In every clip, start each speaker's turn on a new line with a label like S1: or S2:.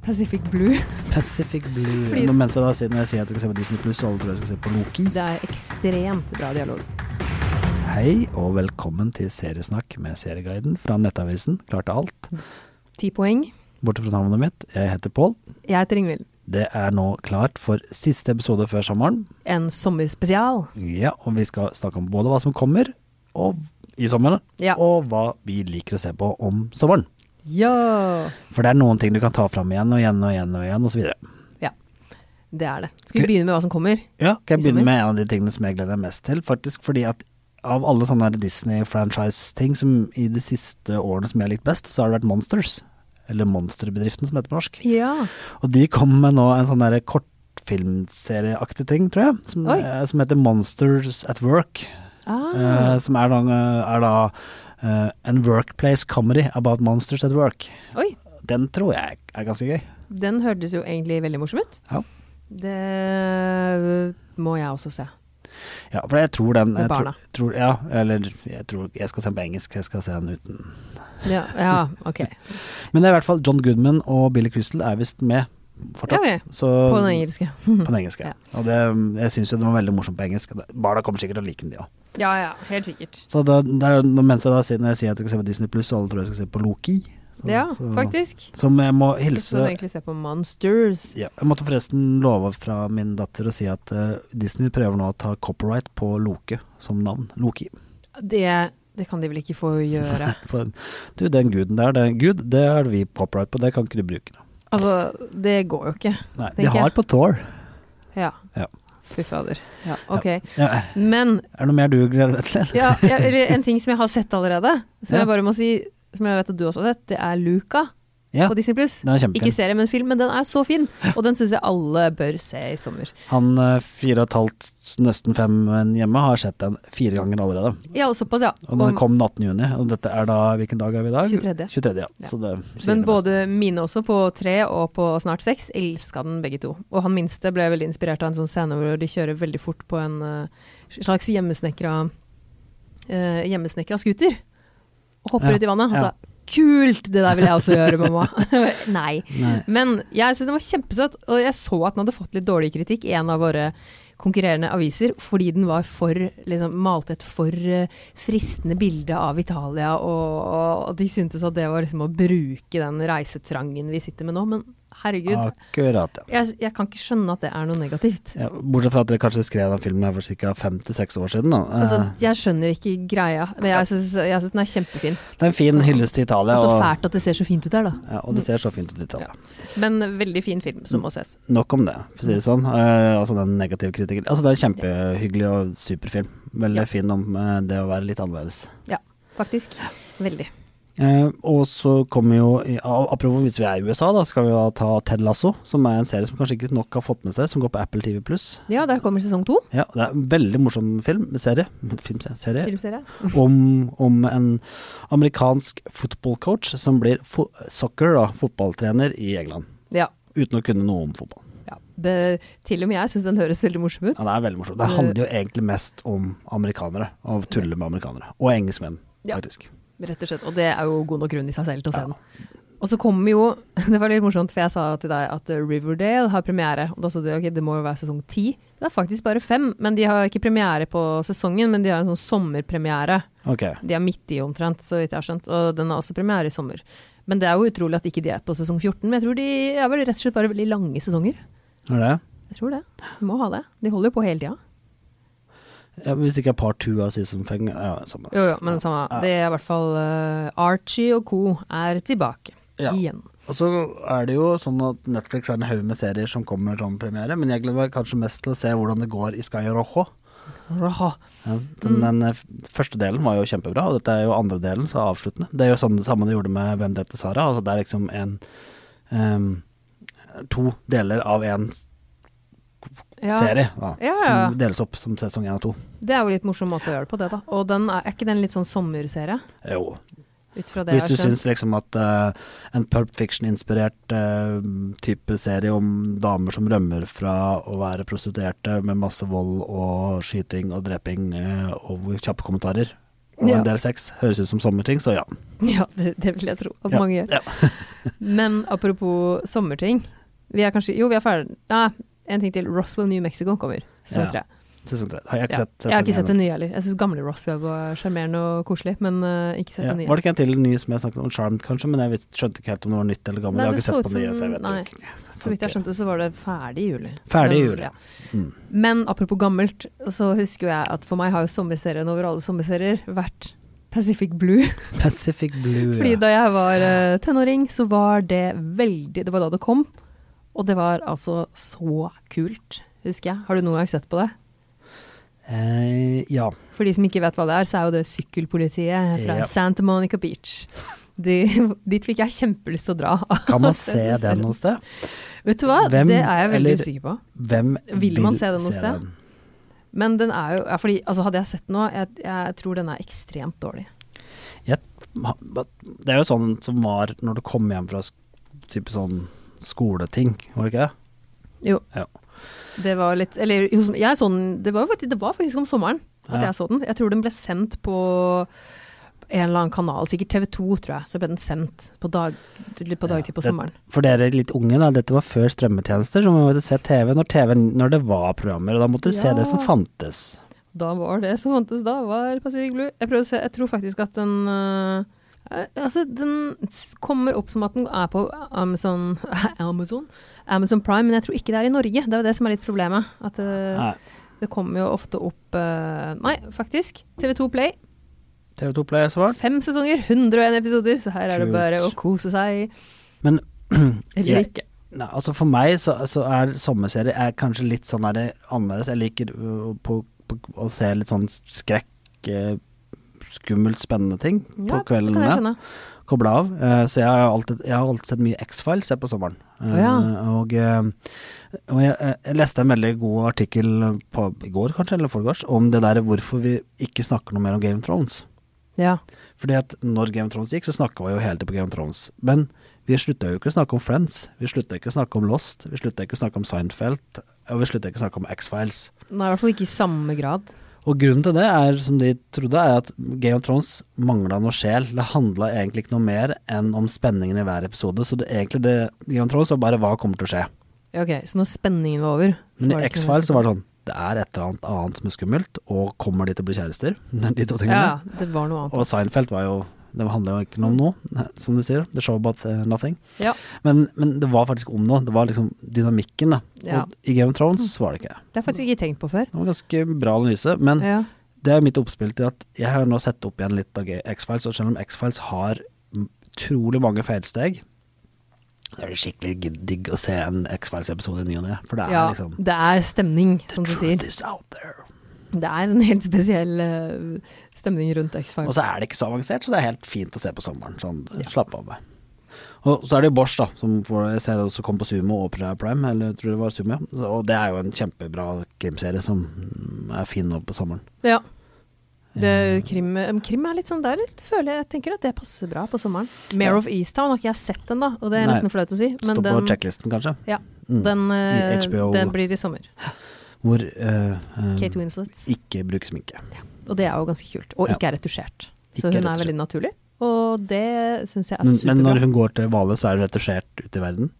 S1: Pacific Blue.
S2: Pacific Blue.
S1: Fordi-
S2: Men mens jeg da sier, når jeg sier at jeg skal se på Disney Pluss, så alle tror jeg skal se på Loki.
S1: Det er ekstremt bra dialog.
S2: Hei og velkommen til Seriesnakk med Serieguiden fra Nettavisen. Klarte alt.
S1: Ti poeng.
S2: Borte fra navnet mitt, jeg heter Pål.
S1: Jeg heter Ingvild.
S2: Det er nå klart for siste episode før sommeren.
S1: En sommerspesial.
S2: Ja, og vi skal snakke om både hva som kommer og i sommeren,
S1: Ja.
S2: og hva vi liker å se på om sommeren.
S1: Ja!
S2: For det er noen ting du kan ta fram igjen og igjen og igjen og igjen osv.
S1: Det er det. Skal vi begynne med hva som kommer?
S2: Ja, kan jeg
S1: I sommer?
S2: begynne med en av de tingene som jeg gleder meg mest til, faktisk fordi at av alle sånne her Disney-franchise-ting som i de siste årene som jeg har likt best, så har det vært Monsters. Eller Monsterbedriften, som heter på norsk.
S1: Ja.
S2: Og de kom med nå en sånn der kortfilmserieaktig ting, tror jeg, som,
S1: Oi.
S2: eh, som heter Monsters at Work. eh,
S1: Ah.
S2: som er da, er da eh, en workplace comedy about monsters at work.
S1: Oi.
S2: Den tror jeg er ganske gøy.
S1: Den hørtes jo egentlig veldig morsom ut.
S2: Ja.
S1: Det må jeg også se.
S2: Ja, for jeg tror den
S1: Med
S2: jeg tror,
S1: barna.
S2: tror, Ja, eller jeg tror Jeg skal se den på engelsk, jeg skal se den uten
S1: Ja, ja ok.
S2: Men det er i hvert fall John Goodman og Billy Crystal er visst med fortsatt.
S1: Ja, ok.
S2: Så,
S1: På den engelske.
S2: På den engelske.
S1: Ja.
S2: Og det, jeg syns jo den var veldig morsom på engelsk. Barna kommer sikkert til å like den, de òg.
S1: Ja ja, helt sikkert.
S2: Så da, det er, jo- mens jeg da sier, når jeg sier at jeg skal se på Disney Pluss, så alle tror jeg skal se på Loki. Så,
S1: Ja,
S2: så-
S1: faktisk.
S2: Som jeg må
S1: Jeg skal
S2: hilse
S1: egentlig se på Monsters.
S2: ja, Jeg måtte forresten love fra min datter å si at eh, Disney prøver nå å ta copyright på Loke som navn. Loki.
S1: Det, det kan de vel ikke få gjøre.
S2: For, du, den guden der, den gud, det har vi copyright på, det kan ikke du bruke. nå.
S1: Altså, det går jo ikke.
S2: Nei, de
S1: Tenker
S2: har
S1: jeg.
S2: på Thor.
S1: Ja.
S2: Ja.
S1: Fy fader. Ja, ok.
S2: Ja,
S1: Men
S2: er det noe mer du gleder deg til?
S1: ja, ja, eller en ting som jeg har sett allerede, som
S2: Ja.
S1: jeg bare må si, som jeg vet at du også har sett, det er Luca
S2: Ja,
S1: på Disney Pluss.
S2: den er kjempefin.
S1: Ikke serie, men film, men den er så fin, og den syns jeg alle bør se i sommer.
S2: Han eh, fire og et halvt, s- nesten fem menn hjemme har sett den fire ganger allerede.
S1: Ja, og såpass, ja.
S2: Og den
S1: Og-
S2: kom 18. juni, og dette er da, hvilken dag er vi i dag?
S1: 23..
S2: 23, ja.
S1: Ja.
S2: Så det sier
S1: men
S2: det meste.
S1: både mine også, på tre og på snart seks, elska den begge to. Og han minste ble veldig inspirert av en sånn scene hvor de kjører veldig fort på en eh, slags hjemmesnekra uh, Hjemmesnekra scooter. Og hopper
S2: Ja,
S1: ut i vannet. Han
S2: ja.
S1: sa 'kult, det der vil jeg også gjøre, mamma'. Nei.
S2: Nei.
S1: Men jeg syns den var kjempesøt, og jeg så at den hadde fått litt dårlig kritikk i en av våre konkurrerende aviser fordi den var for liksom, malte et for eh, fristende bilde av Italia, og, og de syntes at det var liksom å bruke den reisetrangen vi sitter med nå. Men herregud,
S2: Akkurat, ja.
S1: jeg, jeg kan ikke skjønne at det er noe negativt.
S2: Ah, ja. Bortsett fra at dere kanskje skrev den filmen her for ca. fem til seks år siden. Da. Eh,
S1: Altså, jeg skjønner ikke greia, men jeg syns jeg syns den er kjempefin.
S2: det er en fin hyllest til Italia,
S1: Og så
S2: og,
S1: altså fælt at det ser så fint ut der, da.
S2: ja, og det ser så fint ut i Italia.
S1: Men veldig fin film som må ses.
S2: Nok om det, for å si det sånn. Eh, altså den negative kritikken. Altså det er en kjempehyggelig og superfilm. Veldig
S1: Ja.
S2: fin om eh, det å være litt annerledes.
S1: Ja, faktisk. Veldig.
S2: Eh, og så kommer jo, i- a- apropos hvis vi er i USA, da, så kan vi jo ta Ted Lasso, som er en serie som kanskje ikke nok har fått med seg, som går på Apple TV
S1: Ja, der kommer sesong to.
S2: Ja, det er en veldig morsom film, serie, filmserie, serie,
S1: Filmserie.
S2: om, om en amerikansk fotballcoach som blir fo soccer, da, fotballtrener i England.
S1: Ja.
S2: Uten å kunne noe om fotball.
S1: Ja, det, til og med jeg syns den høres veldig morsom ut.
S2: Ja, det er veldig morsomt. Det handler jo egentlig mest om amerikanere, og tulle med amerikanere. Og engelskmenn,
S1: Ja.
S2: faktisk.
S1: Rett og slett. Og det er jo god nok grunn i seg selv til å se den. Og så kommer jo Det var litt morsomt, for jeg sa til deg at Riverdale har premiere. Og da sa du ok, det må jo være sesong ti. Det er faktisk bare fem. Men de har ikke premiere på sesongen, men de har en sånn sommerpremiere.
S2: Ok.
S1: De er midt i omtrent, så vidt jeg har skjønt. Og den har også premiere i sommer. Men det er jo utrolig at ikke de er på sesong 14. Men jeg tror de er vel rett og slett bare veldig lange sesonger.
S2: Er det?
S1: Jeg tror det. De må ha det. De holder jo på hele tida.
S2: Ja, hvis det ikke er par two av season feng, ja, samme.
S1: Jo, jo, men samme. Det er i hvert fall eh, Archie og co. er tilbake
S2: Ja.
S1: igjen.
S2: Og så er det jo sånn at Netflix har en haug med serier som kommer som premiere, men jeg gleder meg kanskje mest til å se hvordan det går i Sky Rojo.
S1: Raha.
S2: Ja,
S1: Mm.
S2: den, den eh, første delen var jo kjempebra, og dette er jo andre delen, så avsluttende. Det er jo sånn det samme de gjorde med Hvem drepte Sara. Altså det er liksom en em, To deler av én
S1: Ja.
S2: serie da,
S1: Ja, ja.
S2: som deles opp som sesong én og to.
S1: Det er jo litt morsom måte å gjøre det på, det da. Og den er, er ikke den litt sånn sommerserie?
S2: Jo.
S1: Ut fra det
S2: Hvis
S1: jeg
S2: du
S1: har skjønt.
S2: syns liksom at eh, en Pulp Fiction-inspirert eh, type serie om damer som rømmer fra å være prostituerte med masse vold og skyting og dreping eh, og kjappe kommentarer og
S1: Ja.
S2: en del sex høres ut som sommerting, så ja.
S1: Ja, det, det vil jeg tro at
S2: Ja,
S1: mange gjør.
S2: ja.
S1: Men apropos sommerting. Vi er kanskje Jo, vi er ferdig. Nei, en ting til. Roswell, New Mexico kommer. Sesong tre.
S2: Ja, Sesong tre. Har jeg ikke
S1: Ja.
S2: sett
S1: Jeg har ikke
S2: sesong
S1: sett den nye heller. Jeg syns gamle Roswell var sjarmerende og koselig, men eh, ikke sett
S2: Ja.
S1: den nye.
S2: Var det ikke en til ny som jeg snakket om, Charmed kanskje, men jeg vet, skjønte ikke helt om det var nytt eller gammelt.
S1: Nei,
S2: jeg har
S1: det
S2: ikke sett
S1: så ut
S2: på nye, så jeg
S1: som-
S2: vet
S1: nei.
S2: jo ikke.
S1: Så vidt jeg skjønte, så var det ferdig i juli.
S2: Ferdig i
S1: Men-
S2: juli, ja. Mm.
S1: Men apropos gammelt, så husker jo jeg at for meg har jo sommerserien over alle sommerserier vært Pacific Blue.
S2: Pacific Blue,
S1: Fordi
S2: ja.
S1: da jeg var eh, tenåring, så var det veldig Det var da det kom, og det var altså så kult, husker jeg. Har du noen gang sett på det?
S2: Eh, ja.
S1: For de som ikke vet hva det er, så er jo det sykkelpolitiet fra
S2: Ja.
S1: Santa Monica Beach. De, dit fikk jeg kjempelyst til å dra.
S2: Kan man se
S1: Det ser-
S2: den noe sted?
S1: Vet du hva,
S2: Hvem
S1: det er jeg veldig
S2: eller-
S1: usikker på.
S2: Hvem
S1: Vil man se den noe sted?
S2: den?
S1: Men den er jo ja, fordi, altså Hadde jeg sett den nå, jeg, jeg tror den er ekstremt dårlig.
S2: Ma- ba- Det er jo sånn som var når du kom hjem fra sk- type sånn skoleting, var det ikke det?
S1: Jo.
S2: Ja.
S1: Det var litt Eller jo, som- jeg så den det var, jo faktisk- det var faktisk om sommeren at
S2: Ja.
S1: jeg så den. Jeg tror den ble sendt på en eller annen kanal, sikkert TV 2, tror jeg. Så ble den sendt på, dag, litt på
S2: Ja,
S1: dagtid på
S2: det-
S1: sommeren.
S2: For dere litt unge, da, dette var før strømmetjenester, så man måtte se TV når, TV når det var programmer, og da måtte du se
S1: Ja.
S2: det som fantes.
S1: Da var det som fantes da, var Pacific Blue. Jeg prøver å se, jeg tror faktisk at den øh, eh, Altså, den s- kommer opp som at den er på Amazon Amazon? Amazon Prime, men jeg tror ikke det er i Norge. Det er jo det som er litt problemet. At øh,
S2: Nei,
S1: det kommer jo ofte opp øh, Nei, faktisk. TV2 Play.
S2: TV2 Play er svart.
S1: Fem sesonger, 101 episoder, så her er det
S2: Kult.
S1: bare å kose seg.
S2: Men
S1: Eller
S2: Jeg-
S1: ikke.
S2: Nei, altså for meg så, så er sommerserie er kanskje litt sånn her annerledes. Jeg liker ø, på, på, å se litt sånn skrekk, ø, skummelt spennende ting
S1: Ja,
S2: på
S1: det kan jeg
S2: kveldene.
S1: skjønne.
S2: Koble av. Eh, så jeg har alltid, jeg har alltid sett mye X-Files jeg, på sommeren. Eh,
S1: Å ja.
S2: Og, eh, og jeg, eh, jeg leste en veldig god artikkel på, i går kanskje, eller foregårs, om det der hvorfor vi ikke snakker noe mer om Game of Thrones.
S1: Ja.
S2: Fordi at når Game of Thrones gikk, så snakka vi jo hele tiden på Game of Thrones. Men vi slutta jo ikke å snakke om Friends, vi slutta ikke å snakke om Lost, vi slutta ikke å snakke om Seinfeld, og vi slutta ikke å snakke om X-Files.
S1: Nei, i hvert fall ikke i samme grad.
S2: Og grunnen til det er, som de trodde, er at Game of Thrones mangla noe sjel. Det handla egentlig ikke noe mer enn om spenningen i hver episode. Så det, egentlig det Game of Thrones var bare hva kommer til å skje.
S1: Ja, Ok, Så når spenningen var over så
S2: Men
S1: var
S2: i
S1: det ikke noe
S2: X-Files så
S1: mer-
S2: var det sånn Det er et eller annet annet som er skummelt, og kommer de til å bli kjærester? De to tingene.
S1: Ja, ja, det var noe annet.
S2: Og Seinfeld var jo Det handla jo ikke noe om noe, som du sier. The show about eh, nothing.
S1: Ja.
S2: Men, men det var faktisk om noe. Det var liksom dynamikken, da.
S1: Ja. Mm.
S2: Og i Game of Thrones var det ikke det.
S1: Det har jeg faktisk ikke tenkt på før.
S2: Det var ganske bra analyse. Men
S1: Ja.
S2: det er mitt oppspill til at jeg har nå sett opp igjen litt av G- X-Files, og selv om X-Files har m- utrolig mange feilsteg, så er det skikkelig digg å se en X-Files-episode i ny og ne. For det er
S1: ja,
S2: liksom
S1: det er stemning, som du sier.
S2: Truth is out there.
S1: Det er en helt spesiell eh, stemning rundt X-Files.
S2: Og så er det ikke så avansert, så det er helt fint å se på sommeren. Sånn, slapp av med. Og så er det jo Bosch, da, som får, jeg ser også kom på Sumo og Prime, Prime, eller jeg tror det var Sumo, ja. Så- Og det er jo en kjempebra krimserie som mm, er fin nå på sommeren.
S1: Ja. Det, krim, eh, krim er litt sånn der, litt, føler jeg, jeg tenker at det passer bra på sommeren. Mare
S2: Ja.
S1: of Easttown har ikke jeg sett den da, og det er
S2: Nei.
S1: nesten flaut å si.
S2: Står
S1: Men
S2: på
S1: den,
S2: checklisten, kanskje.
S1: ja,
S2: Mm.
S1: den, eh,
S2: I HBO.
S1: den blir i sommer.
S2: Hvor eh, eh,
S1: Kate Winslet.
S2: ikke bruker sminke.
S1: Og det er jo ganske kult. Og
S2: Ja.
S1: ikke er retusjert. Så
S2: Ikke
S1: hun er
S2: retusjert.
S1: veldig naturlig. Og det syns jeg er
S2: Men, men
S1: superbra.
S2: når hun går til Hvale, så er hun retusjert ute i verden.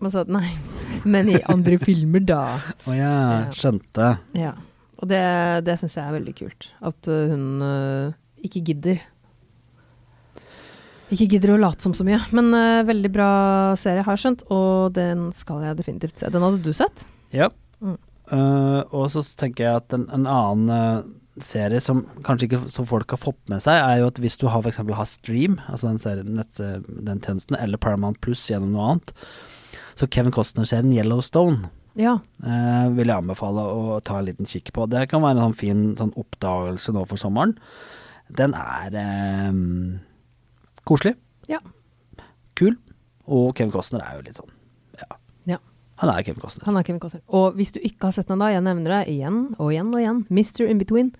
S1: Man sa, nei, men i andre filmer, da.
S2: Å ja,
S1: Ja.
S2: skjønte.
S1: Ja, og det, det syns jeg er veldig kult. At øh, hun øh, ikke gidder. Ikke gidder å late som så mye, men øh, veldig bra serie, har jeg skjønt. Og den skal jeg definitivt se. Den hadde du sett?
S2: Ja.
S1: Mm.
S2: Eh, og så tenker jeg at en, en annen eh, serie som kanskje ikke så folk har fått med seg, er jo at hvis du har for eksempel har Stream, altså den, serien, nett, den tjenesten, eller Paramount Plus gjennom noe annet, så Kevin Costner-serien Yellowstone
S1: Ja.
S2: eh, vil jeg anbefale å ta en liten kikk på. Det kan være en sånn fin sånn oppdagelse nå for sommeren. Den er eh, koselig,
S1: Ja.
S2: kul, og Kevin Costner er jo litt sånn, ja.
S1: Ja.
S2: Han er Kevin Costner.
S1: Han er Kevin Costner. Og hvis du ikke har sett den da, jeg nevner det igjen og igjen og igjen, Mr. In Between.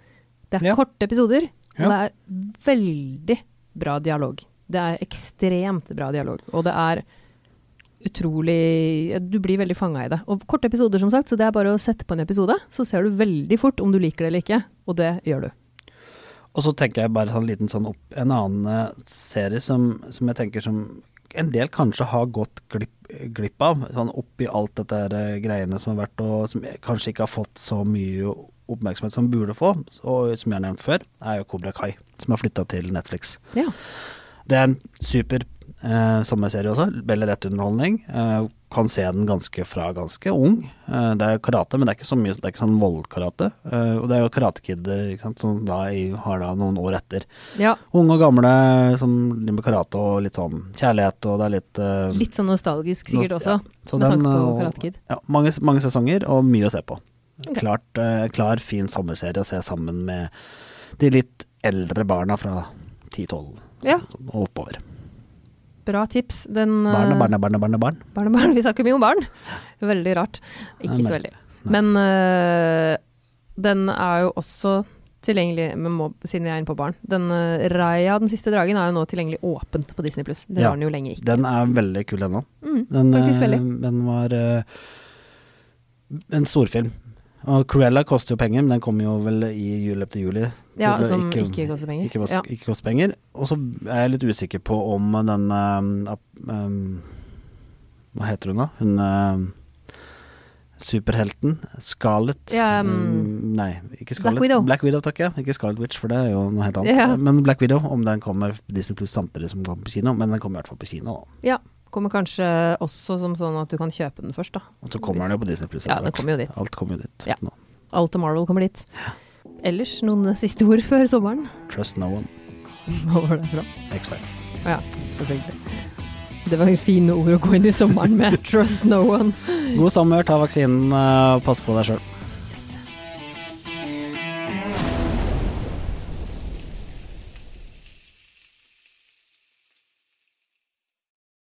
S1: Det er
S2: Ja.
S1: korte episoder, og det
S2: Ja.
S1: er veldig bra dialog. Det er ekstremt bra dialog, og det er utrolig Du blir veldig fanga i det. Og korte episoder, som sagt, så det er bare å sette på en episode, så ser du veldig fort om du liker det eller ikke, og det gjør du.
S2: Og så tenker jeg bare sånn liten sånn opp En annen eh, serie som, som jeg tenker som en del kanskje har gått glipp, glipp av, sånn oppi alt dette her, eh, greiene som har vært, og som kanskje ikke har fått så mye oppmerksomhet som burde få, og som jeg har nevnt før, er jo Kobra Kai, som har flytta til Netflix.
S1: Ja.
S2: Det er en super eh, sommerserie også. Veldig lett underholdning. Eh, kan se den ganske fra ganske ung. Eh, det er karate, men det er ikke så mye Det er ikke sånn voldkarate. Eh, og det er jo Karate Kid ikke sant, som da i, har da noen år etter.
S1: ja.
S2: Unge og gamle som driver med karate og litt sånn kjærlighet, og det er litt eh,
S1: Litt sånn nostalgisk sikkert
S2: Nos-
S1: også,
S2: ja. Så
S1: med
S2: den,
S1: tanke på
S2: og-
S1: Karate Kid.
S2: Ja, mange, mange sesonger og mye å se på.
S1: Ok.
S2: Klart, eh, klar, fin sommerserie å se sammen med de litt eldre barna fra 10-12
S1: Ja,
S2: sånn, og oppover.
S1: bra tips. Den, eh,
S2: Barna, barna, barna, barna, barn.
S1: Barn og barn, vi snakker mye om barn. Veldig rart. Ikke
S2: Nei,
S1: så
S2: men-
S1: veldig. Men øh, den er jo også tilgjengelig, med mob, siden jeg er inne på barn. Den øh, Raya, den siste dragen, er jo nå tilgjengelig åpent på Disney pluss. Det
S2: Ja.
S1: var den jo lenge ikke.
S2: Den er veldig kul ennå.
S1: Mm,
S2: Den,
S1: faktisk
S2: eh,
S1: veldig.
S2: den var eh, en storfilm. Og Cruella koster jo penger, men den kommer jo vel i jul etter juli. så
S1: Ja,
S2: det
S1: som ikke, koster penger.
S2: Ikke,
S1: ja.
S2: kost- ikke koster penger. Og så er jeg litt usikker på om den eh, ap- eh, Hva heter hun, da? Hun eh, superhelten? Scarlett
S1: Ja, um,
S2: eh, Nei, ikke Scarlett.
S1: Widow.
S2: Black Widow, takk ja. Ikke Scarlet Witch, for det er jo noe helt annet.
S1: Ja.
S2: Men Black Widow, om den kommer på Disney Plus samtidig som den kommer på kino. Men den kommer i hvert fall på kino, da.
S1: ja. Kommer kanskje også som sånn at du kan kjøpe den først, da.
S2: Og så kommer den jo på Disney Plus
S1: Ja, den kommer jo dit.
S2: Alt kommer jo dit
S1: Ja.
S2: nå.
S1: Alt av Marvel kommer dit. Ellers noen siste ord før sommeren?
S2: Trust no one.
S1: Hva var det fra?
S2: X-Fact.
S1: Ja, selvfølgelig. Det var fine ord å gå inn i sommeren med. Trust no one.
S2: God sommer, ta vaksinen, eh, pass på deg sjøl.